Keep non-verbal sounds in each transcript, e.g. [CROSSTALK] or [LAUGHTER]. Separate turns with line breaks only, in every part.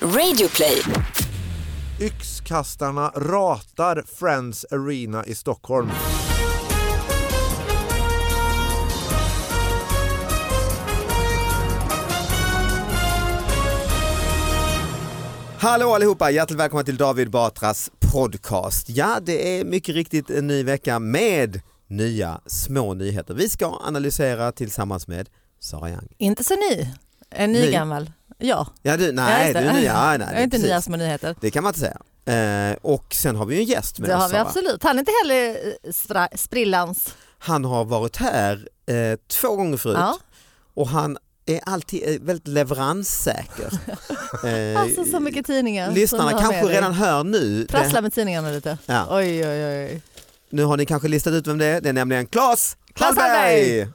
Radioplay.
Yxkastarna ratar Friends Arena i Stockholm.
Hallå allihopa, hjärtligt välkomna till David Batras podcast. Ja, det är mycket riktigt en ny vecka med nya små nyheter. Vi ska analysera tillsammans med Sara Young.
Inte så ny. En ny,
Ny?
gammal. Ja.
Ja, du,
Ja,
nej,
just det.
du är nya. Nej,
Jag
nej,
är inte
precis.
nya små nyheter.
Det kan man inte säga. Eh, och sen har vi ju en gäst med
Det
oss,
har vi
alltså,
Sara.
absolut. Han är inte heller eh, spra- sprillans.
Han har varit här eh, två gånger förut
Ja.
och han är alltid eh, väldigt leveranssäker.
[LAUGHS]
Eh,
Alltså så mycket tidningar. som
Lyssnarna
du har med
kanske
dig.
redan hör nu. det-
Prassla med tidningarna lite.
Ja.
Oj, oj, oj.
Nu har ni kanske listat ut vem det är. Det är nämligen Claes
Claes
Hallberg!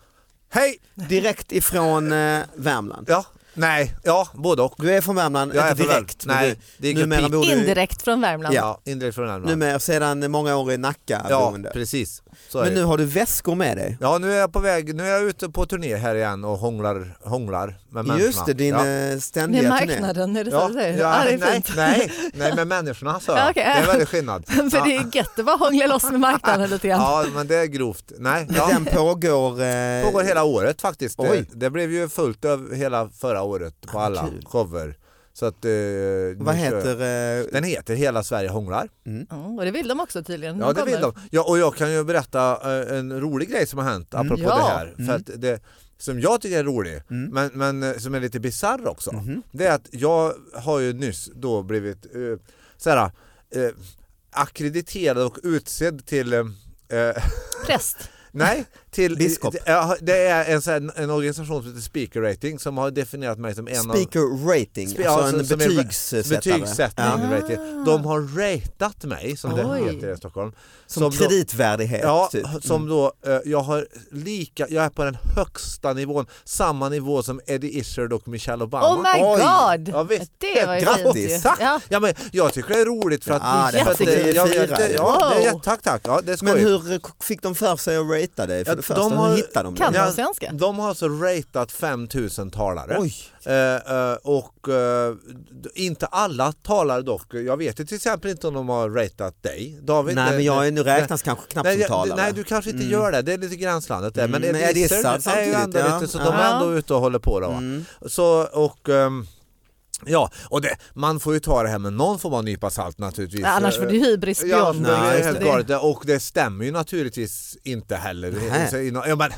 Hej!
Direkt ifrån eh, Värmland.
Ja, nej, ja, både och.
Du är från Värmland,
Jag är
inte
från
direkt.
Värmland.
men
Nej,
du,
det gick
numera
upp
bor du
Indirekt från Värmland.
Ja.
Ja, indirekt från Värmland.
numera sedan många år i Nacka
ja,
boende.
precis. Så är
Men nu
det.
har du väskor med dig.
Ja, nu är jag på väg. Nu är jag ute på turné här igen och hånglar, hånglar med människorna.
Just det, din
ja.
eh,
Det
ständiga
är
turné.
marknaden, är det så
Ja,
du
ja,
säger? Ja, det är
nej,
fint. [LAUGHS]
nej, nej, med människorna sa
Ja,
jag.
okej.
Det är väldigt skillnad.
[LAUGHS] För det
Ja,
är gött att bara hångla loss med marknaden lite grann.
ja, men det är grovt. Nej, ja.
Den pågår... Eh,
pågår hela året faktiskt. Det,
Oj.
det blev ju fullt över hela förra året på
Ah,
alla
kul.
shower. Så att, eh, nu
Vad
kör jag.
heter... Eh,
Den heter Hela Sverige hånglar.
Mm, och det vill de också tydligen.
Ja, det vill de. Ja, och jag kan ju berätta eh, en rolig grej som har hänt
Mm.
apropå
Ja.
det här. För att det, som jag tycker är rolig,
Mm.
men, men eh, som är lite bisarr också.
Mm-hmm.
Det är att jag har ju nyss då blivit eh, så här, eh, akkrediterad och utsedd till eh, [LAUGHS] eh,
Präst.
Nej, till,
Biskop.
Det, ja, det är en, så här, en organisation som heter Speaker Rating som har definierat mig som en av
speaker rating,
Spe- ja,
alltså en
som- som är-
betygssättare.
betygssättning.
Ja.
rating. De har ratat mig, som det
Ah. Oj.
heter i Stockholm.
Som
då-
kreditvärdighet.
Ja,
typ.
som då, eh, jag har lika, jag är på den högsta nivån, samma nivå som Eddie Izzard och Michelle Obama.
Oh my
Oj.
god!
Ja, visst.
Det var ju
Grattis.
fint ju.
Exakt!
Ja.
Ja, men jag tycker det är roligt för att...
Ja, det
för att,
fattar
eh,
jag.
jag,
Det är fyra.
det- ja, det är,
Wow.
tack, tack. Ja, det är
Men
skoj.
hur fick de för sig att ratea dig? För
Ja,
det första,
de har-
hur hittade de
Kan
dig?
Ja.
de svenska?
De har alltså ratat 5000 talare.
Oj.
Eh, eh, och eh, d- inte alla talare dock. Jag vet ju till exempel inte om de har ratat dig David.
Nej
Det-
men jag är, nu
det-
räknas kanske knappt
Nej,
som
jag-
talare.
nej du kanske inte gör det, det är lite gränslandet där.
Mm,
Men,
men jag
Eddie
dissar
Izzard är ju
samtidigt,
ändå
ja.
lite så,
Ja. Mm.
de är
Ja.
ändå ute och håller på då. Va? Så, och, ehm, ja, och det, man får ju ta det här med någon form av nypa salt naturligtvis. Eh,
Ja, annars får du [LAUGHS] ju hybris
Ja,
Björn.
det är
just
helt
det.
galet. Och det stämmer ju naturligtvis inte heller.
Nej.
Så i nå- Ja,
[LAUGHS]
men,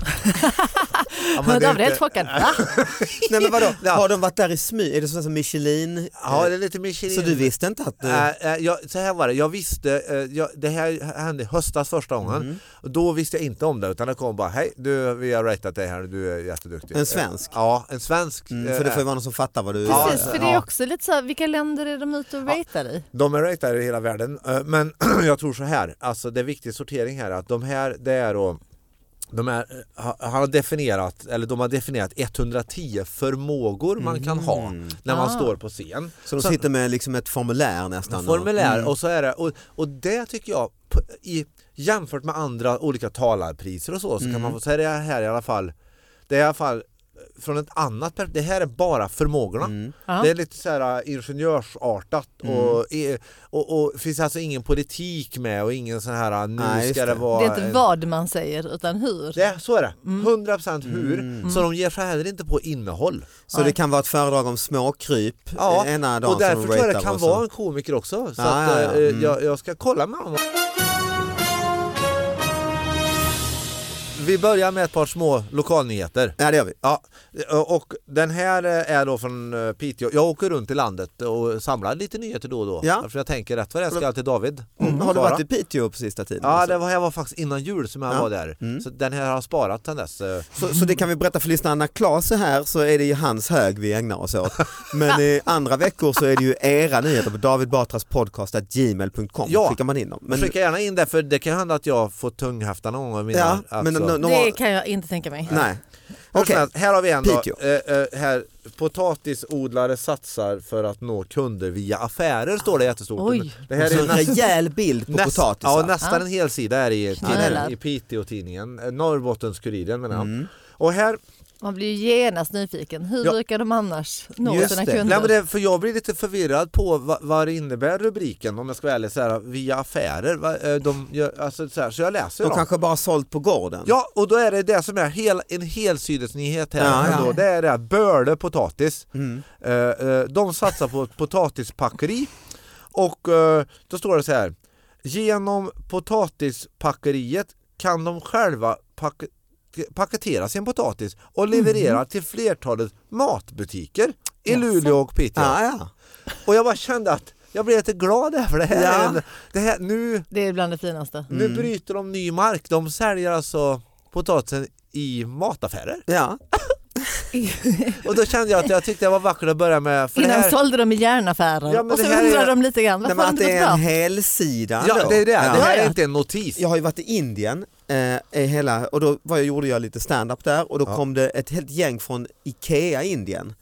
ja,
Men
det är
David är helt
inte-
chockad. Va?
Nej men vadå,
[LAUGHS] Ja.
har de varit där i smyg? Är det sådana som Michelin? Eh,
Ja, det är lite Michelin.
Så du visste inte att...
Äh, äh, jag, så här var det, jag visste, eh, jag, det här hände i höstas första gången.
Mm.
Och Då visste jag inte om det utan det kom bara, hej du, vi har ratat dig här och du är jätteduktig.
En svensk?
Eh, Ja, en svensk.
Mm, för det
eh,
får ju vara någon som fattar vad du...
Ja,
Precis,
ja,
för det är
ja.
också lite så här, vilka länder är de ute och ratear i?
De är ratade i hela världen, eh, men [CLEARS THROAT] jag tror så här, alltså det är viktig sortering här att de här, det är då de är, eh, ha- han har definierat, eller de har definierat 110 förmågor man kan ha
Mm.
när man
Ah.
står på scen.
Så de
Så-
sitter med liksom ett formulär nästan?
Formulär
Mm.
och så är det, och, och det tycker jag p- i, jämfört med andra olika talarpriser och så, så kan
Mm.
man få säga det här i alla fall, det är i alla fall eh, från ett annat perspektiv, det här är bara förmågorna.
Mm.
Ja.
Det är lite så här eh, ingenjörsartat och, e- och, och finns alltså ingen politik med och ingen sån här eh, nu
Nej, just
ska det
det.
vara
Det är inte Mm.
en-
vad man säger utan hur.
det, så är det, 100% hur.
Mm.
Så de ger sig heller inte på innehåll.
Så det kan vara ett föredrag om småkryp
Ja,
eh, ena dagen
och därför
som
tror
de
jag
ratear
det kan
och så-
vara en komiker också. Så
Ja,
att,
ja, ja.
eh,
Mm.
jag, jag ska kolla med honom. Vi börjar med ett par små lokalnyheter.
Ja det gör vi.
Ja, eh, och den här är då från eh, Piteå. Jag åker runt i landet och samlar lite nyheter då och då.
Ja. Mm,
För jag tänker rätt vad det är ska jag till David.
Har du
Sara.
varit i Piteå på sista tiden?
Mm, Ja,
alltså? Mm.
det var, jag var faktiskt innan jul som jag var där. Så den här har jag sparat sedan dess. eh.
Så, så det kan vi berätta för lyssnarna, när Claes är här så är det ju hans hög vi ägnar oss åt.
[LAUGHS]
Men i andra veckor så är det ju era nyheter på David Batras podcast at gmail.com
Ja.
skickar man in dem. Men,
Skicka gärna in det för det kan hända att jag får tunghäfta någon gång. i mina-
ja, men
alltså.
no, no,
Det kan jag inte tänka mig.
nej.
Hur som
Okej.
helst, Här har vi en då.
Piteå.
Eh, eh, här, potatisodlare satsar för att nå kunder via affärer står det jättestort.
Oj.
Det här
Så
är
en
näst,
Alltså, rejäl bild på
näst,
potatisar.
ja, nästan en hel sida är i,
Knölar.
Mm.
i Piteå-tidningen, Eh, Norrbottens-Kuriren menar jag. Och här
Man blir ju genast nyfiken. Hur
Ja.
brukar de annars nå
Just
sina
det.
kunder?
Nej, men det, för jag blir lite förvirrad på vad, vad det innebär rubriken om jag ska vara ärlig, så här, via affärer. Va, eh, de, gör- alltså, så, här, så jag läser
De
dem.
kanske bara har sålt på gården.
Ja, och då är det det som är hel, en helsidesnyhet här
Ja, ja.
ändå. Det är det här Böle potatis.
Mm.
Eh, eh, de satsar på ett potatispackeri och eh, då står det så här. Genom potatispackeriet kan de själva pack- paketera sin potatis och leverera
Mm.
till flertalet matbutiker i
Jaså.
Luleå och Piteå.
Ja, ja.
Och jag bara kände att jag blev lite glad här för det här,
Ja.
är en, det här nu,
Det är bland det finaste.
nu
Mm.
bryter de ny mark. De säljer alltså potatisen i mataffärer.
ja.
Och då kände jag att jag tyckte det var vackert att börja med. För det
Innan
här,
sålde de i järnaffärer
Ja, men
och så
det här är-
undrar de lite grann
Nej,
varför
men
har
att
det
det
inte
är
gått
en
bra?
helsida
ja,
då.
det är det. Det här
Ja,
är
ja.
inte en notis.
Jag har ju varit i Indien eh, i hela, och då var jag, gjorde jag lite stand-up där och då
Ja.
kom det ett helt gäng från Ikea Indien.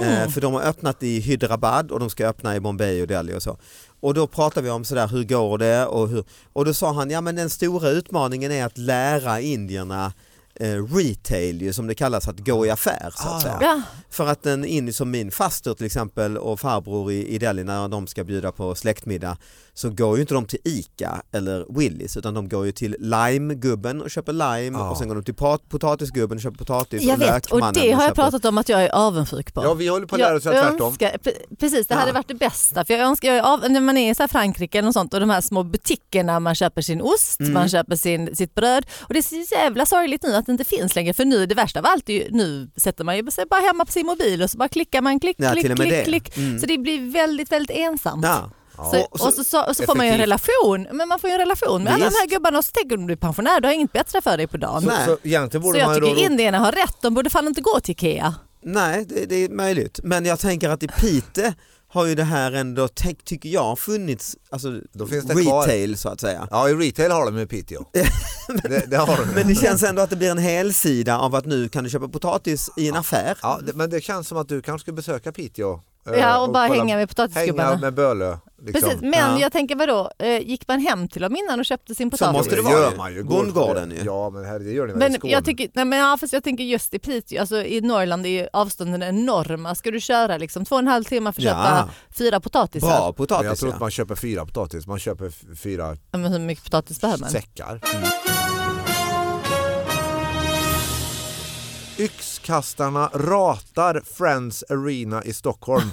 Eh, för de har öppnat i Hyderabad och de ska öppna i Bombay och Delhi och så. Och då pratade vi om sådär, hur går det? Och, hur, och då sa han, ja men den stora utmaningen är att lära indierna eh, retail ju, som det kallas, att gå i affär så att
Ah,
säga.
Ja,
För att en indier som min faster till exempel och farbror i, i Delhi när de ska bjuda på släktmiddag så går ju inte de till ICA eller Willys utan de går ju till limegubben och köper lime
Ja.
och sen går de till pot- potatisgubben och köper potatis
jag
och
vet och
lökmannen
det har jag
köper-
pratat om att jag är avundsjuk på.
Ja, vi håller på att lära oss att göra tvärtom.
önskar, pre- precis, det hade
Ja.
varit det bästa. För jag önskar, jag är av, när man är i så här Frankrike eller något sånt och de här små butikerna man köper sin ost, man köper sin, sitt bröd. Och det är så jävla sorgligt nu att det inte finns längre för nu, det värsta av allt är ju, nu sätter man ju sig bara hemma på sin mobil och så bara klickar man klick,
Ja, till
klick,
och med
klick,
det.
klick.
Mm.
Så det blir väldigt, väldigt ensamt.
Ja.
Så,
Ja,
och, så, och, så, och så får man ju en relation, men man får ju en relation med alla de här gubbarna och så tänker de du blir pensionär, du har inget bättre för dig på dagen.
Så,
Så,
Nej.
så egentligen borde
jag
man ju då...
tycker indierna har rätt, de borde fan inte gå till Ikea.
Nej, det, det är möjligt. Men jag tänker att i Piteå har ju det här ändå, tänk- tycker jag, funnits alltså,
Då finns det kvar.
retail så att säga.
Ja, i retail har de ju i Piteå. det, det har de.
Men det känns ändå att det blir en helsida av att nu kan du köpa potatis i en affär.
Ja, det, men det känns som att du kanske ska besöka Piteå. eh,
Ja, och bara
kolla-
hänga med potatisgubbarna.
Hänga med Bölö. Liksom.
Precis, men
Ja.
jag tänker vadå, eh, gick man hem till dem innan och köpte sin
Så
potatis?
måste det
Ja,
vara
gör
ju.
man
Bondgården ju.
Ja, men herre, det gör ni väl i
Men
Skåne?
jag, tycker, nej men ja, fast jag tänker just i Piteå, alltså i Norrland är ju avstånden enorma. Ska du köra liksom två och en halv timme för att
Ja.
köpa fyra potatisar?
Bra
Men jag
potatis
tror inte
ja.
man köper fyra potatis, man köper f- fyra
Ja, men hur mycket potatis behöver man?
säckar. Yxkastarna ratar Friends Arena i
[LAUGHS]
Stockholm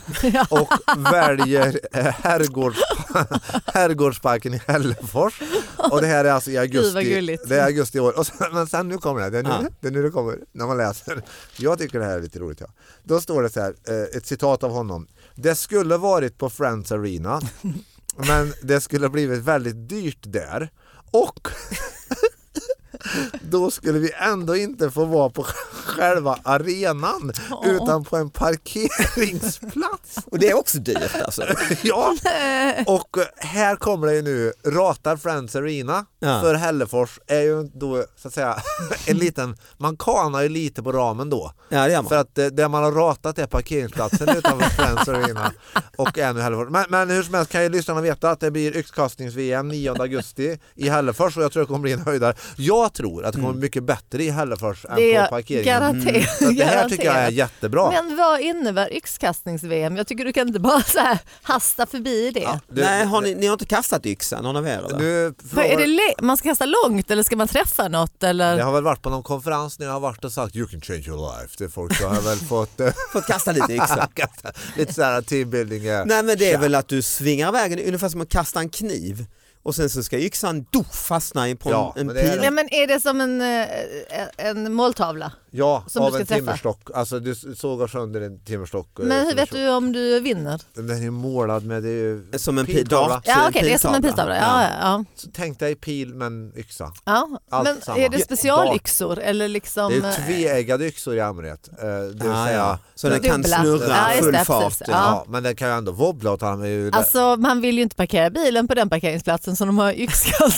och väljer eh, herrgårds, [LAUGHS] Herrgårdsparken i Hällefors. Och det här är alltså i
Gud, vad
augusti,
gulligt.
det är augusti i år. Och sen, men sen nu kommer det, här. det är nu,
Ja.
det, är nu det kommer, när man läser. Jag tycker det här är lite roligt. Ja. Då står det så här, eh, ett citat av honom. Det skulle varit på Friends Arena men det skulle ha blivit väldigt dyrt där. Och [LAUGHS] då skulle vi ändå inte få vara på själva arenan
Ja.
utan på en parkeringsplats.
Och det är också dyrt alltså.
[LAUGHS] Ja, och eh, här kommer det ju nu, ratar Friends Arena
Ja.
för Hällefors är ju då så att säga [LAUGHS] en liten, man kanar ju lite på ramen då.
Ja det gör
För
man.
att eh, det man har ratat är
[LAUGHS]
parkeringsplatsen utanför Friends Arena och är nu Hällefors. Men, men hur som helst kan ju lyssnarna veta att det blir yxkastnings-VM 9 augusti i Hällefors och jag tror det kommer bli en höjdare. Jag tror att det
Mm.
kommer bli mycket bättre i Hällefors än
Det
på
är
parkeringen.
garanterat.
Så att det här tycker jag är jättebra.
Men vad innebär yxkastnings-VM? Jag tycker du kan inte bara så här hasta förbi det.
Ja, du-
Nej, har ni, ni har inte kastat yxan någon av er? Eller?
nu
Vad är
frågar-
det le- man ska kasta långt eller ska man träffa något? Eller?
Jag har väl varit på någon konferens när jag har varit och sagt you can change your life till folk. Så har jag väl fått [LAUGHS] eh,
Fått kasta
[LAUGHS]
lite yxa?
lite sådär teambuilding. eh.
Nej men det är väl att du svingar iväg den ungefär som att kasta en kniv och sen så ska yxan do, fastna i på en,
Ja,
en
men det är-
pil.
Ja, men är det som en, eh, en måltavla?
Ja,
Som du
av
ska
en
träffa.
timmerstock. Alltså du sågar sönder en timmerstock. eh,
Men hur
som
vet
är
du om du vinner?
Den är ju målad med... Det är ju,
Som en pil,
Piltavla.
dart,
Ja
en
okej, det är som en piltavla. Ja, ja,
så tänk dig pil men yxa.
ja. ja.
Allt
Men
samma.
är det specialyxor eller liksom?
Det är ju tveeggade yxor i allmänhet. eh, Det vill
Ja,
säga,
Ah, ja. Så den kan
Dubbla.
snurra
Ja, just
full
det,
fart.
precis.
Ja.
Ja.
men den kan ju ändå wobbla åt han är ju
Alltså man vill ju inte parkera bilen på den parkeringsplatsen som de har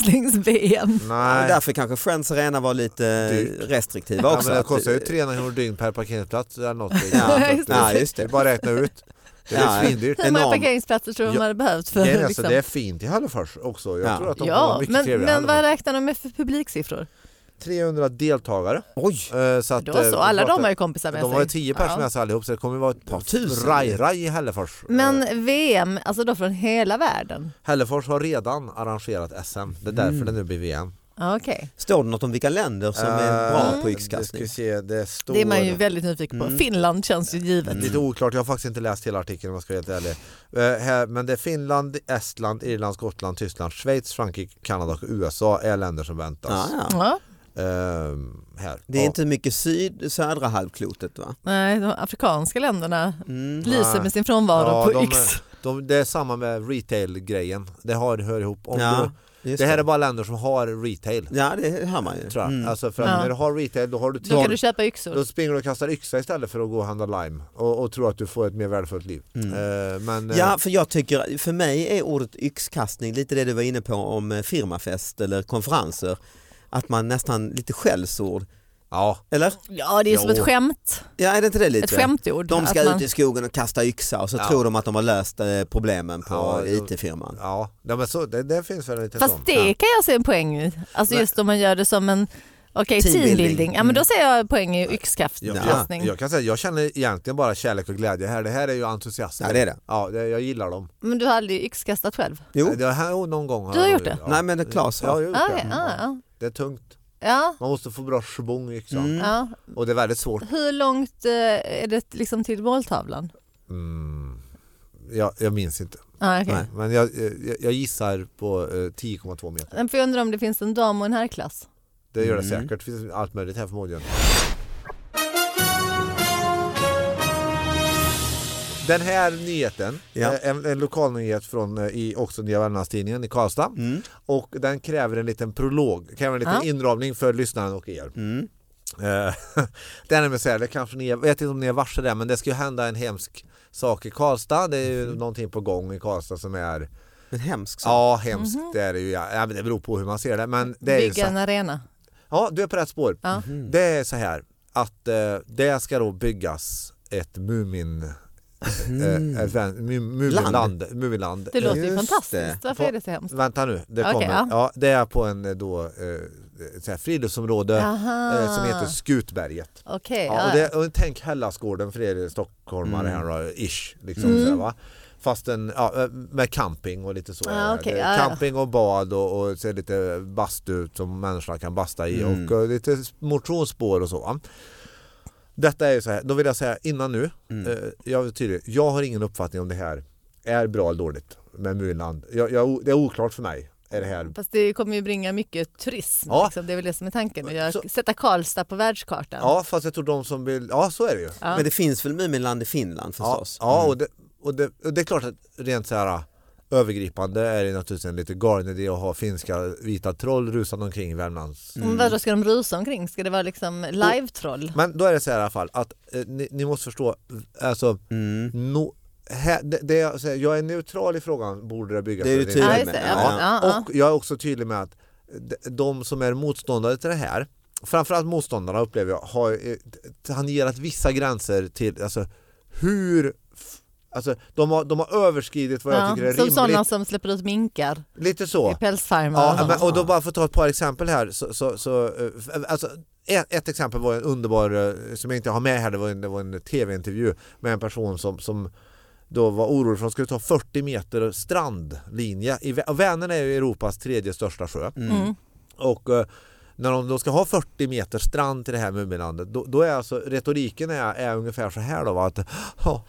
yxkastnings-VM.
Och
Nej.
Därför kanske Friends Arena var lite
Dyrt.
restriktiva
Ja,
också.
men det
att-
kostar ju 300 kronor dygn per parkeringsplats eller något.
Ja,
Så att
[LAUGHS] ja,
du-
just det.
är bara att räkna ut. Det är
Ja,
ju svindyrt.
Hur många
Enorm.
parkeringsplatser tror du de
Ja,
hade behövt? För,
Det är, alltså,
liksom?
det är fint i Hallefors också. Jag
Ja.
tror att de kommer
ja,
mycket
men,
trevliga
men
Hallefors.
vad räknar de med för publiksiffror?
300 deltagare.
Oj!
Eh, Så att,
Då så,
eh,
alla de
pratar-
har ju kompisar med
de
sig.
var ju tio personer
Ja.
med sig allihop så det kommer vara ett par
Tusen.
tusen raj-raj i Hällefors. Eh,
Men VM, alltså då från hela världen?
Hällefors har redan arrangerat SM, det är därför det nu blir VM.
Ja, Okej,
Står det något om vilka länder Mm. som är
Eh,
bra på
det
yxkastning?
ska se, det står...
Mm. det är man ju väldigt nyfiken på. Finland känns ju givet.
Mm. Lite oklart, jag har faktiskt inte läst hela artikeln om jag ska vara helt ärlig. Eh, här- Men det är Finland, Estland, Irland, Skottland, Tyskland, Schweiz, Frankrike, Kanada och USA är länder som
Ja,
väntas.
ja.
Ja.
Ehm, här.
Det är
Ja.
inte mycket syd, södra halvklotet va?
Nej, de afrikanska länderna lyser
Mm, Nej.
med sin frånvaro
Ja,
på
de-
X.
De, det är samma med retail-grejen, det har, hör ihop. Om
Ja,
du,
just
det här är bara länder som har retail.
Ja det hör man ju.
Tror jag.
Mm.
Alltså för att
Ja.
när du har retail då har du
Då kan
tillgång-
du köpa yxor.
Då springer du och kastar yxa istället för att gå och handla lime och, och tro att du får ett mer värdefullt liv.
Mm.
Eh, men, eh,
Ja, för jag tycker, för mig är ordet yxkastning lite det du var inne på om eh, firmafest eller konferenser. Att man nästan lite skällsord,
ja.
eller?
Ja, det är som
Jo.
ett skämt.
Ja, är det inte det lite?
Ett skämtord.
De ska
att man-
ut i skogen och kasta yxa och så
Ja.
tror de att de har löst eh, problemen på
Ja, jo.
IT-firman.
Ja, ja men så, det, det finns väl en liten sån.
Fast det
Ja.
kan jag se en poäng i. Alltså
Nej. Mm.
just om man gör det som en Okej,
Teambuilding.
teambuilding. Ja, men då ser jag poäng i yxkastning.
Jag,
Ja.
jag, jag kan säga jag känner egentligen bara kärlek och glädje här. Det här är ju entusiaster.
Ja, det är det.
Ja, det, jag gillar dem.
Men du har aldrig yxkastat själv?
Jo,
Det här, oh, någon gång
Du har
jag
gjort det?
Ja.
nej men det Claes
Ja, jag har
har.
gjort
Ah,
det.
ja, ja,
Det är tungt.
ja.
Man måste få bra schvung i yxan.
ja.
Och det är väldigt svårt.
Hur långt eh, är det liksom till måltavlan?
Mm. Jag, jag minns inte.
Ah, okay.
Nej.
Men jag, jag, jag gissar på eh, 10,2 meter.
Men För jag undrar om det finns en dam och en herrklass?
Det gör det
Mm.
säkert. Det finns allt möjligt här förmodligen. Den här nyheten,
Ja.
eh, en, en lokalnyhet från eh, i, också Nya Värmlandstidningen i Karlstad
Mm.
och den kräver en liten prolog, kräver en liten
Ja.
inramning för lyssnaren och er.
Mm.
Eh, [LAUGHS] det är nämligen så här, det kanske ni, jag vet inte om ni är varse det, men det ska ju hända en hemsk sak i Karlstad. Det är ju någonting på gång i Karlstad som är,
Men hemskt Mm. så. Mhm.
ja hemskt det är det ju, ja, Ja, men det beror på hur man ser det. Men det är ju så
Bygga en arena?
Ja, du är på rätt spår.
Ja.
Det är så här att eh, det ska då byggas ett Mumin... Eh, ett vän- mu- Muminland. Muminland.
Det låter ju
Just
fantastiskt.
det.
Varför är det så hemskt?
Vänta nu, det
Okej,
kommer.
ja.
Ja. det är på en eh, då, eh, så här friluftsområde
Aha.
eh, som heter Skutberget.
Okej,
Ja, och
ja. Mm.
det, och tänk Hellasgården för er stockholmare här då, ish. Liksom, så här, va? Fast en, ja, eh, med camping och lite så.
Ja, Ah, okej,
Det-
ja, ja.
camping och bad och, och så är det lite bastu som människorna kan basta i
Mm.
och, eh, lite motionsspår och så. Va? Detta är ju så här, då vill jag säga innan nu,
Mm.
eh, jag vill tydlig, jag har ingen uppfattning om det här är bra eller dåligt med Myrland. Jag, jag, det är oklart för mig. Är det här
Fast det kommer ju bringa mycket turism.
Ja.
Liksom. Det är väl det som är tanken. Att göra-
Så-
sätta Karlstad på världskartan.
Ja fast jag tror de som vill, ja så är det ju.
Ja.
Men det finns väl Muminland i Finland förstås?
Ja, ja och, det, och, det, och det är klart att rent så här övergripande är det naturligtvis en lite galen idé att ha finska vita troll rusande omkring i Värmlands.
Mm. Vadå, ska de rusa omkring? Ska det vara liksom live-troll?
Men då är det så här i alla fall att eh, ni, ni måste förstå, alltså,
Mm.
no, här, det, det, jag säger, jag är neutral i frågan, borde det byggas
Det är
eller
du
inte?
tydlig
Ja,
med.
just det. Ja, ja.
Och jag är också tydlig med att de- de som är motståndare till det här, framförallt motståndarna upplever jag, har eh, tangerat vissa gränser till alltså, hur f- Alltså, de, har, de har överskridit vad jag
Ja,
tycker är
som
rimligt.
sådana som släpper ut minkar
Lite så.
i pälsfarmar. och
Ja,
sånt.
men, och då bara för att ta ett par exempel här. Så, så, så, eh, alltså, ett, ett exempel var en underbar, eh, som jag inte har med här, det var en, det var en tv-intervju med en person som, som då var orolig för att de skulle ta 40 meter strandlinje. I, Vä- och Vänern är ju Europas tredje största sjö.
Mm.
Och eh, när de då ska ha 40 meter strand till det här Muminlandet då, då är alltså retoriken är, är ungefär så här då va, att ja,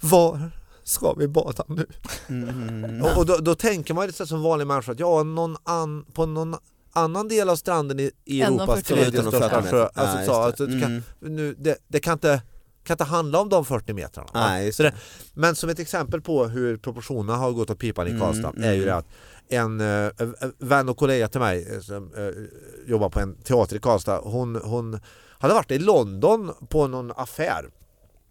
Var ska vi bada nu?
Mm.
Och, och då, då tänker man ju så som vanlig människa att ja, någon an, på någon annan del av stranden i, i
Än de
Europas
40
tredje
meter.
största sjö.
Ja,
Alltså,
just
så,
det.
alltså, det,
Mm.
kan, nu, det, det kan inte kan inte handla om de 40 metrarna. va?
Nej, just
Så det, men som ett exempel på hur proportionerna har gått åt pipan
Mm,
i Karlstad är ju det att en eh, vän och kollega till mig eh, som eh, jobbar på en teater i Karlstad, hon, hon hade varit i London på någon affär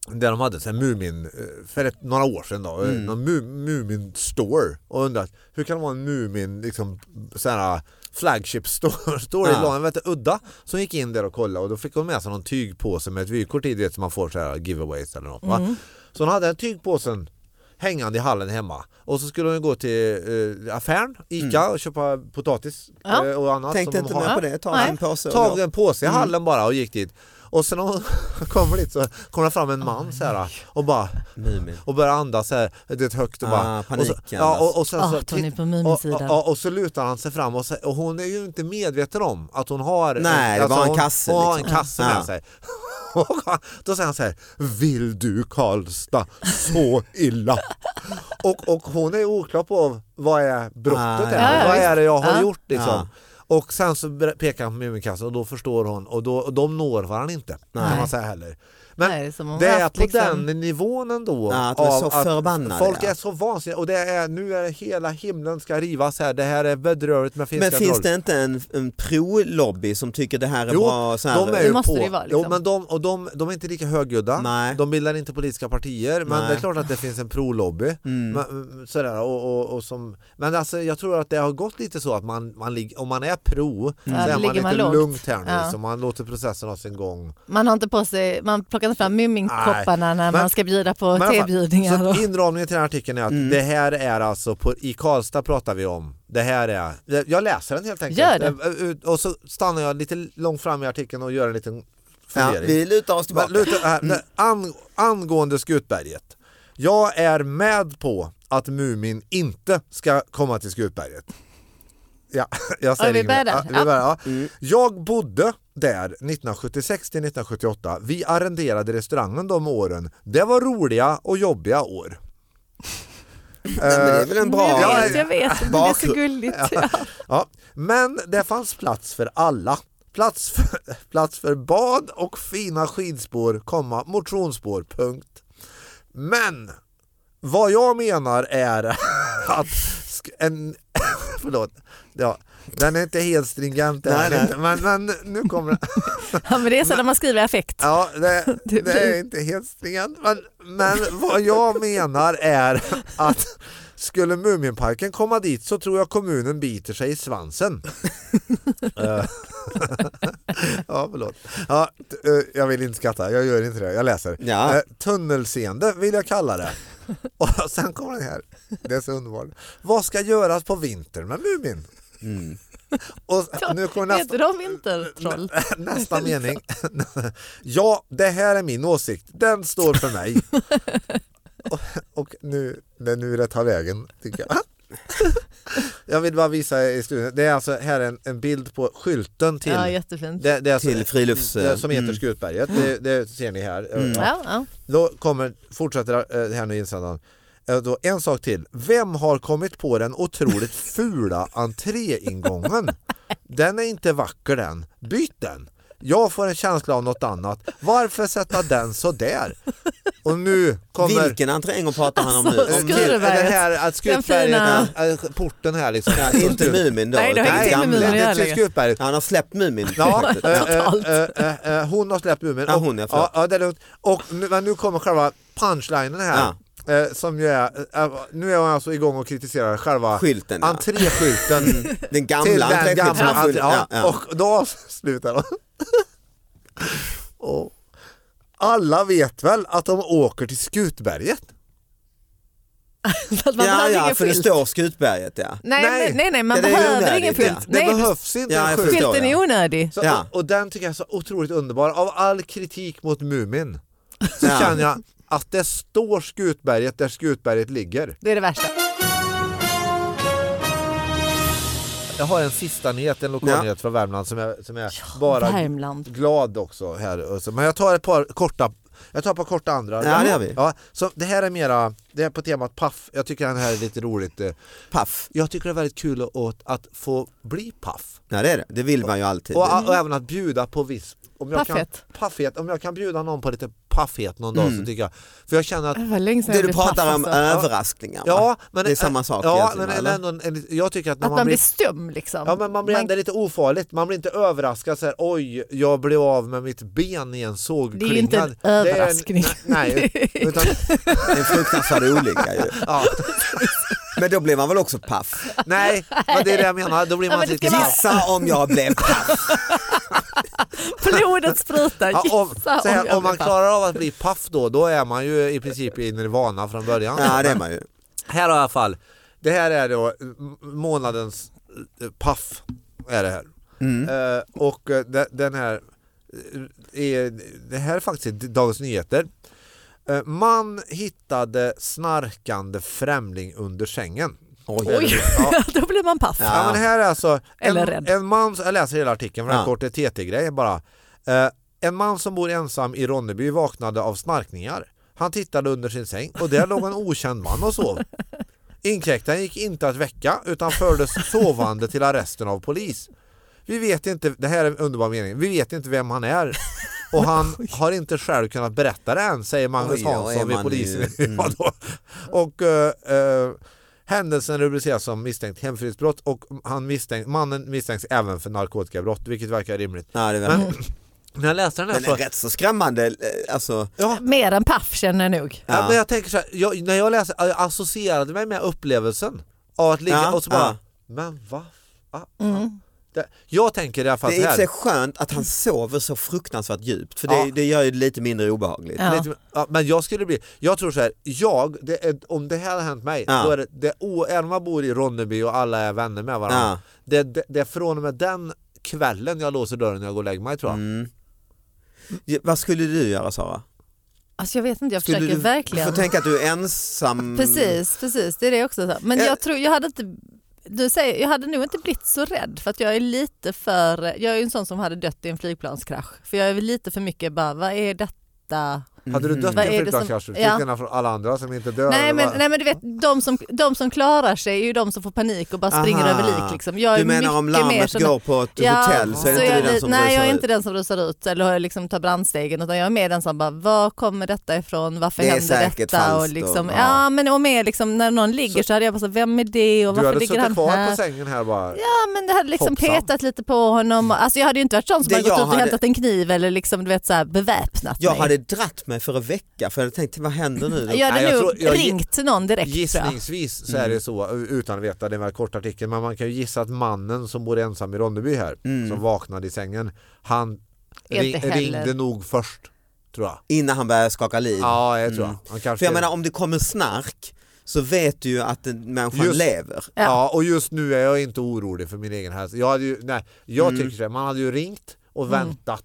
där de hade så här Mumin, eh, för ett, några år sedan då, mm. någon mu, Mumin store och undrat hur kan det vara en Mumin liksom så här flagship store, [LAUGHS] store
Ah.
i London, vet du, udda. Så hon gick in där och kollade och då fick hon med sig någon tygpåse med ett vykort i, du vet som man får så här giveaways eller något va. Så hon hade en tygpåsen hängande i hallen hemma. Och så skulle hon ju gå till eh, affären, ICA, och köpa potatis
Ja.
eh, och annat.
Tänkte
som de
inte
har.
mer på det, ta
Nej.
en påse och Mm.
tog
gå.
en påse i hallen bara och gick dit. Och sen när hon [LAUGHS] kommer dit så kommer det fram en man så här och bara
Mumin.
och börjar andas så här, det är högt och
Ah,
bara... och så,
panikandas.
ja, och, och sen
Ah,
så,
att hon är på
och,
Mumins sida.
och, och, och så lutar han sig fram och, så, och hon är ju inte medveten om att hon har... alltså,
Nej, det var en
hon,
kasse,
Hon har en
liksom.
kasse
Ja.
med sig. [LAUGHS] Och Då säger han så här, vill du Karlstad så illa? och, och hon är oklar på vad är brottet
Ah,
är,
ja, ja,
vad
visst.
är det jag har
Ja.
gjort liksom.
Ja.
Och sen så ber- pekar han på Muminkassen och då förstår hon och, då, och de når varandra inte kan
Nej.
man säga heller. Men
Nej, det är som om
det
hon
är
haft
på
liksom-
den nivån ändå.
Ja, att de är
av
så förbannade,
Folk
ja.
är så vansinniga och det är, nu är det hela himlen ska rivas här. Det här är bedrövligt med finska
Men finns
troll.
det inte en, en pro-lobby som tycker det här är
Jo,
bra? Så här,
de är
Det
ju
måste
på.
det ju vara,
jo,
liksom.
men de, och de, de är inte lika högljudda,
Nej.
de bildar inte politiska partier, men
Nej. Mm.
det är klart att det finns en pro-lobby. Men, mm, sådär, och, och, och som, men alltså, jag tror att det har gått lite så att man, man lig, om man är pro
Mm.
så
Ja, då
är man
ligger
lite
man lågt.
lugnt här nu,
Ja.
så man låter processen ha sin gång.
Man har inte på sig, man plockar inte fram Muminkopparna när
Men-
man ska bjuda på
Men i alla fall,
tebjudningar. och- Mm.
Så inramningen till den här artikeln är att det här är alltså, på, i Karlstad pratar vi om, det här är, jag läser den helt enkelt.
Gör det.
Eh, ut- Och så stannar jag lite långt fram i artikeln och gör en liten
ja,
fundering.
vi lutar oss
Men
tillbaka.
luta, här, nej, an, angående Skutberget. Jag är med på att Mumin inte ska komma till Skutberget. Ja, [LAUGHS] jag säger
Ja, vi
inget mer.
börjar där.
Ja, vi
Ja.
börjar, ja. Jag bodde där 1976 till 1978. Vi arrenderade restaurangen de åren. Det var roliga och jobbiga år.
Nej, men det är väl en bra...
Jag vet, jag vet. men Det är så
bakgrund.
gulligt.
Ja, men det fanns plats för alla. Plats för, [LAUGHS] plats för bad och fina skidspår, komma, motionsspår, punkt. Men vad jag menar är [LAUGHS] att sk- en, [LAUGHS] förlåt, ja, den är inte helt stringent den här
Nej, nej.
inte, men, men nu kommer den.
[LAUGHS] Ja, men det är så när man skriver i affekt.
[LAUGHS] Ja, det,
Det
det är
blir-
inte helt stringent. Men, men vad jag menar är att skulle Muminparken komma dit så tror jag kommunen biter sig i svansen. Eh, [LAUGHS] ja, förlåt. Ja, t- eh, jag vill inte skratta, jag gör inte det, jag läser.
Ja.
Eh, tunnelseende vill jag kalla det. Och sen kommer den här, det är så underbart. Vad ska göras på vintern med Mumin?
mm,
Och nu kommer nästa.
Heter de vintertroll?
[LAUGHS] Nästa
[LAUGHS]
mening. Ja, det här är min åsikt. Den står för
[LAUGHS]
mig. Och, och nu, det är nu det tar vägen, tycker
[LAUGHS]
jag. Jag vill bara visa i studion. Det är alltså här en, en bild på skylten till,
Ja, jättefint.
det, det är alltså-
Till frilufts-
det, som heter
mm.
Skutberget. Det, det ser ni här.
Ja, ja. [LAUGHS]
Då kommer, fortsätter eh, det här nu insändaren. Eh, Då, en sak till. Vem har kommit på den otroligt fula entréingången? Den är inte vacker den. Byt den. Jag får en känsla av något annat. Varför sätta den så där? Och nu kommer...
Vilken entréingång pratar han om nu?
Alltså,
Eh,
Om-
till-
Skurberget.
Det här, att
Den
Skurberget,
fina-
eh, eh, porten här liksom.
Ja, inte Mumin då.
Nej, det har
utan
Nej,
inte
gamla.
med Mumin att
det
göra
är
längre.
Skutberget.
Han har släppt Mumin.
[LAUGHS]
[LAUGHS]
Ja,
projektet.
eh, eh,
Totalt.
eh, eh, eh, hon har släppt Mumin.
Ja,
Och-
hon, ja, förlåt.
ja, ja, det är lugnt. Och nu, men nu kommer själva punchlinen här. Eh, som ju är, eh, nu är hon alltså igång och kritiserar själva
Skylten, ja.
entréskylten
Mm. Den
till
[LAUGHS] gamla
den
entréskylten.
gamla.
som har
entré-
funnits.
Ja,
Ja, ja.
Och då avslutar hon. [LAUGHS] och alla vet väl att de åker till Skutberget?
För att man
Ja,
behöver
ja,
ingen
för det
skylt.
står Skutberget ja.
Nej,
Nej.
nej, nej, nej man
Ja, det är
behöver
onödigt,
ingen
ja.
skylt.
Det
Nej,
behövs inte
Ja,
en
jag
skylt.
förstår.
skylten är onödig.
Så,
Ja.
Och den tycker jag är så otroligt underbar. Av all kritik mot Mumin så
Ja.
känner jag att det står Skutberget där Skutberget ligger.
Det är det värsta.
Jag har en sista nyhet, en lokal
Ja.
nyhet från Värmland som är, som är bara
Värmland.
glad också här. Och så- Men jag tar ett par korta, jag tar ett par korta andra.
Ja, det gör vi.
Ja, så det här är mera, det är på temat paff. Jag tycker den här är lite roligt. eh.
Paff.
Jag tycker det är väldigt kul att, att få bli paff.
Ja det är det, det vill man ju alltid.
Och, och även att bjuda på viss om jag
Paffhet.
Kan, paffhet. Om jag kan bjuda någon på lite paffhet någon
Mm.
dag så tycker jag, för jag känner att
Det var länge sedan
Det
jag
du
blev paff,
pratar om eh,
alltså.
överraskningar va?
Ja, men
Det är samma sak
Ja,
egentligen,
men
eller?
ändå, en- en, jag tycker att när
Att man blir stum liksom.
Ja men man blir ändå lite ofarligt, man blir inte överraskad så här, oj jag blev av med mitt ben i en
Det
sågklinga.
är ju inte en
Det är en-
överraskning.
[LAUGHS] Nej, utan,
Det är en fruktansvärd olycka ju.
ja,
Men då blir man väl också paff?
nej, men det är det jag menar, då blir
Ja,
man
men det
lite
ska vara-
paff.
Gissa om jag blev paff.
[LAUGHS] Blodet sprutar.
Ja, om,
Gissa
så här,
jag
om man
blir
klarar av att bli paff då, då är man ju i princip i nirvana från början.
Ja det är man ju.
Här har jag i alla fall, det här är då m- månadens eh, paff. Är det här.
Mm.
Eh, och eh, de- den här, eh, är, det här är faktiskt Dagens Nyheter. Eh, man hittade snarkande främling under sängen.
Oj. [LAUGHS]
Ja,
paff. Då blir man paff.
Ja, men det här är alltså
Eller
en,
rädd.
en man, jag läser hela artikeln för
Ja.
den kort är TT-grej bara. Eh, en man som bor ensam i Ronneby vaknade av snarkningar. Han tittade under sin säng och där låg en okänd man och
[LAUGHS]
sov. Inkräktaren gick inte att väcka utan fördes sovande till arresten av polis. Vi vet inte, det här är en underbar mening, vi vet inte vem han är och
[LAUGHS]
han har inte själv kunnat berätta det än säger Magnus
Oj, ja, är
Hansson vid
man
polisen.
ju-
[LAUGHS]
mm.
Ja, då. Och eh, eh, händelsen rubriceras som misstänkt hemfridsbrott och han misstänkt, mannen misstänks även för narkotikabrott vilket verkar rimligt.
Ja, det är [LAUGHS]
Men
men,
när jag läste den här
men det är
så,
rätt så skrämmande. eh, Alltså,
ja,
Mer än paff känner jag nog.
ja. men jag tänker så här, jag, när jag läste, jag associerade mig med upplevelsen av att ligga
Ja,
och så bara,
ja.
men va? Ah, ah.
Mm.
Det, jag tänker i alla fall
det är i
så
och för
här.
sig skönt att han sover så fruktansvärt djupt för det,
Ja.
det gör ju det lite mindre obehagligt.
Ja.
Lite, ja, men jag skulle bli, jag tror så här, jag, det är, om det här hade hänt mig,
Ja.
då är det, det o, även om man bor i Ronneby och alla är vänner med varandra,
Ja.
det, det, det är från och med den kvällen jag låser dörren när jag går och lägger mig tror jag.
Mm. Ja, Vad skulle du göra Sara?
Alltså jag vet inte, jag
Skulle
försöker
du,
verkligen.
Du får tänka att du är ensam.
Precis, precis, det är det också. så här. Men
Eh.
jag tror, jag hade inte du säger, jag hade nog inte blivit så rädd för att jag är lite för, jag är ju en sån som hade dött i en flygplanskrasch. För jag är väl lite för mycket bara, vad är detta?
Hade du dött
mhm. Vad
i en
är det
flygplanskrasch,
som-
till
Ja.
skillnad från alla andra som inte dör?
Nej
eller
men,
vad?
nej men du vet, de som, de som klarar sig är ju de som får panik och bara springer
Aha.
över lik. Liksom. Jag är
Du menar om
mycket mer
larmet
sån-
går på ett hotell så är det
jag
inte du den
li-
som
Nej,
rusar
jag är
ut.
inte den som rusar ut eller liksom tar brandstegen utan jag är mer den som bara, var kommer detta ifrån, varför
Det är
händer
säkert
detta?
falskt
Och liksom,
och- ja.
ja. men och med liksom, när någon ligger så, hade jag bara, så, vem är det och
du
varför
hade
ligger han
suttit kvar
här?
på sängen här bara.
Ja men det hade liksom
Hoppsan.
petat lite på honom. Och- Alltså jag hade ju inte varit sån som
Det
hade gått
jag
ut och
hade-
hämtat en kniv eller liksom du vet så här beväpnat
Jag
mig.
hade dratt mig för att väcka för jag hade tänkt vad händer nu?
Jag hade
Nej, jag
nog
tror- jag-
ringt till någon direkt tror jag.
Gissningsvis så
Mm.
är det så, utan att veta, det är en väldigt kort artikel, men man kan ju gissa att mannen som bor ensam i Ronneby här, som vaknade i sängen, han
Inte
ring,
Mm. heller.
ringde nog först, tror jag.
Innan han börjar skaka liv.
Ja, jag tror
Mm.
jag. Han kanske
För jag menar om det kommer snark så vet du ju att den människan
Just-
lever.
Ja.
Ja.
och just nu är jag inte orolig för min egen hälsa. Jag, hade ju, nej, jag
Mm.
tycker så här, man hade ju ringt och
Mm.
väntat.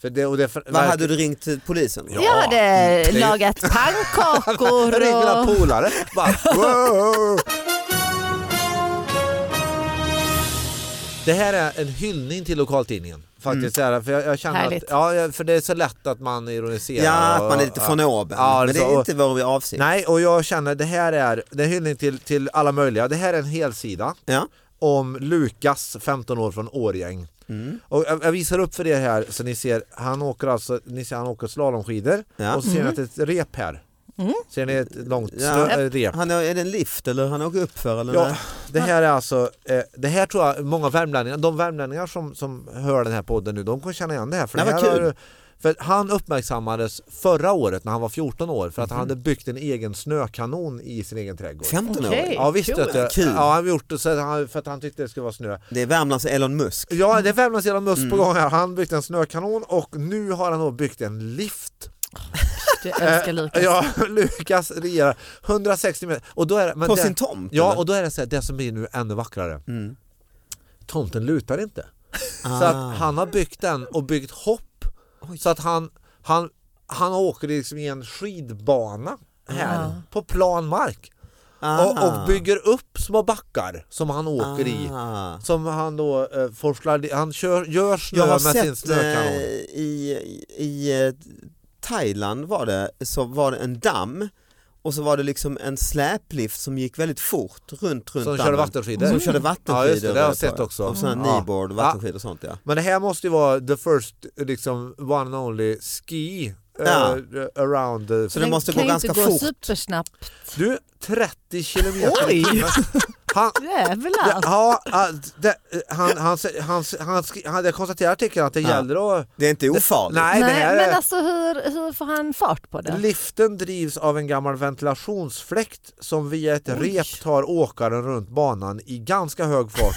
För det, och det, för,
Vad hade du ringt till polisen?
Ja.
Jag hade
ju- [LAUGHS]
lagat pannkakor
Jag ringde mina
och...
polare.
[LAUGHS]
Bara, wow. Det här är en hyllning till lokaltidningen.
Mm.
Faktiskt är det, för jag, jag känner att,
Härligt.
ja, jag- för det är så lätt att man ironiserar.
Ja, att
och-
man är lite från oben.
Ja,
Men det
så-
är inte vår avsikt.
Nej, och jag känner det här är, det är en hyllning till, till alla möjliga. Det här är en hel sida
Ja.
om Lukas, 15 år från Årjäng.
Mm.
Och jag, jag visar upp för er här så ni ser, han åker alltså, ni ser han åker slalomskidor
Ja. Mm.
och så ser ni att det är ett rep här. Ser ni ett långt
Ja.
stö- äh, rep?
Han är, är det en lift eller han åker upp för eller?
Ja,
nej?
det här är alltså, eh, det här tror jag många värmlänningar, de värmlänningar som, som hör den här podden nu, de kommer känna igen det här. För,
Nej,
det
vad
här
kul.
har- för han uppmärksammades förra året när han var 14 år för att
Mhm.
han hade byggt en egen snökanon i sin egen trädgård.
15 år?
Okej.
Ja visst
Kul.
vet du.
Kul.
Ja, han gjort det så att han, för att han tyckte det skulle vara snö.
Det är Värmlands Elon Musk.
Ja det är Värmlands Elon Musk
Mm.
på gång här. Han byggt en snökanon och nu har han då byggt en lift.
Jag älskar Lukas.
Ja, [LAUGHS] Lukas regerar 160 meter. Och då är, det- men
På
det,
sin tomt?
Ja
eller?
och då är det så här, det som blir nu ännu vackrare.
Mm.
Tomten lutar inte.
Ah.
Så att han har byggt den och byggt hopp.
Oj.
Så att han, han, han åker liksom i en skidbana här
Ah.
på plan mark.
Ah.
Och, och bygger upp små backar som han åker i.
Ah.
Som han då eh, forslar, han kör, gör snö
Jag har
med sin
sett eh,
snökanon.
i, i eh, Thailand var det, så var det en damm och så var det liksom en släplift som gick väldigt fort runt, runt
Som
dammen.
körde vattenskidor.
Mm. Som körde
Ja, just det,
vattenskidor.
det har jag
var på.
sett också.
Och sådana
Ja.
kneeboard, vattenskidor och sånt ja.
Men det här måste ju vara the first, liksom, one and only ski eh,
Ja.
around the...
Så det måste gå
kan ju
ganska
inte gå
fort.
supersnabbt.
Du, 30 kilometer i
Oj.
timmen. Han,
[LAUGHS]
Jävlar.
ja, ja, det, eh, han, han, han, han, skri- han, jag konstaterar i artikeln att det
Ja.
gäller att...
Det är inte ofarligt.
Nej, det
Nej,
här
men
är...
alltså hur, hur får han fart på det?
Liften drivs av en gammal ventilationsfläkt som via ett
Oj.
rep tar åkaren runt banan i ganska hög fart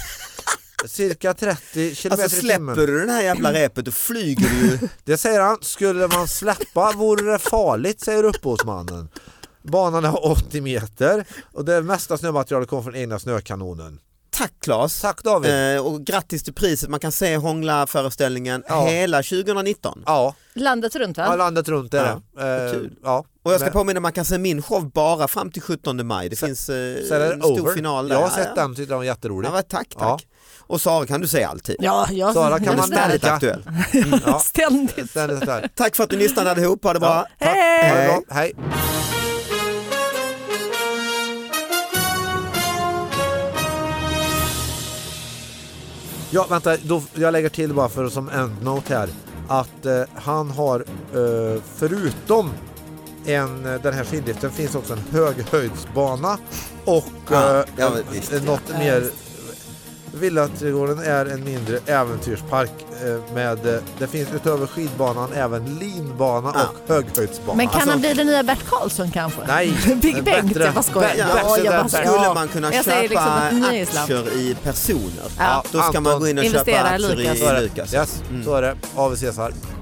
cirka 30 kilometer
Alltså
i timmen. Mm.
släpper du den här jävla repet då flyger
[LAUGHS]
du ju.
Det säger han, skulle man släppa vore det farligt säger upphovsmannen. Banan är 80 meter och det mesta snömaterialet kommer från egna snökanonen.
Tack Claes.
Tack David!
Eh, och grattis till priset, man kan se Hångla-föreställningen
Ja.
hela 2019.
Ja,
Landet runt
jag har
va?
landat runt där. Eh,
kul.
ja.
Och jag ska
Men-
påminna, man kan se min show bara fram till 17 maj. Det
Sen-
finns eh,
Sen är
en
det
stor
over.
final där.
Jag har
Ja,
sett
ja.
den, tyckte den var
Ja,
jätterolig.
men tack,
Ja.
tack. Och Sara kan du se alltid.
Ja, jag,
Sara kan
Hon är
man
ständigt
märka.
aktuell.
Mm,
[LAUGHS]
ja.
Ständigt.
Ständigt där.
Tack för att ni lyssnade allihop, ha det bra.
Ja, tack.
Hej!
Ha det bra. Hej! Ja, vänta, då, jag lägger till bara för som endnote här att eh, han har eh, förutom en, eh, den här skidliften finns också en höghöjdsbana och
Ja,
eh,
Ah, ja,
en-
visst.
eh, något mer. Villaträdgården är en mindre äventyrspark eh, med, eh, det finns utöver skidbanan även linbana
Ja.
och höghöjdsbana.
Men kan
Ah. Alltså,
han bli den nya Bert Karlsson kanske?
Nej,
[LAUGHS] Big Bengt,
bättre.
jag bara skojar.
Bättre
Ja, jag
där,
bara
Bert.
skojar.
Skulle man kunna
Jag
köpa
säger liksom att ni är slapp.
aktier i personer,
Ja.
då ska man
Anton.
gå in och köpa
Investera i
aktier i
Lukas.
så Mm. är
i
det.
Lukas.
Yes, så är det. Av Cesar.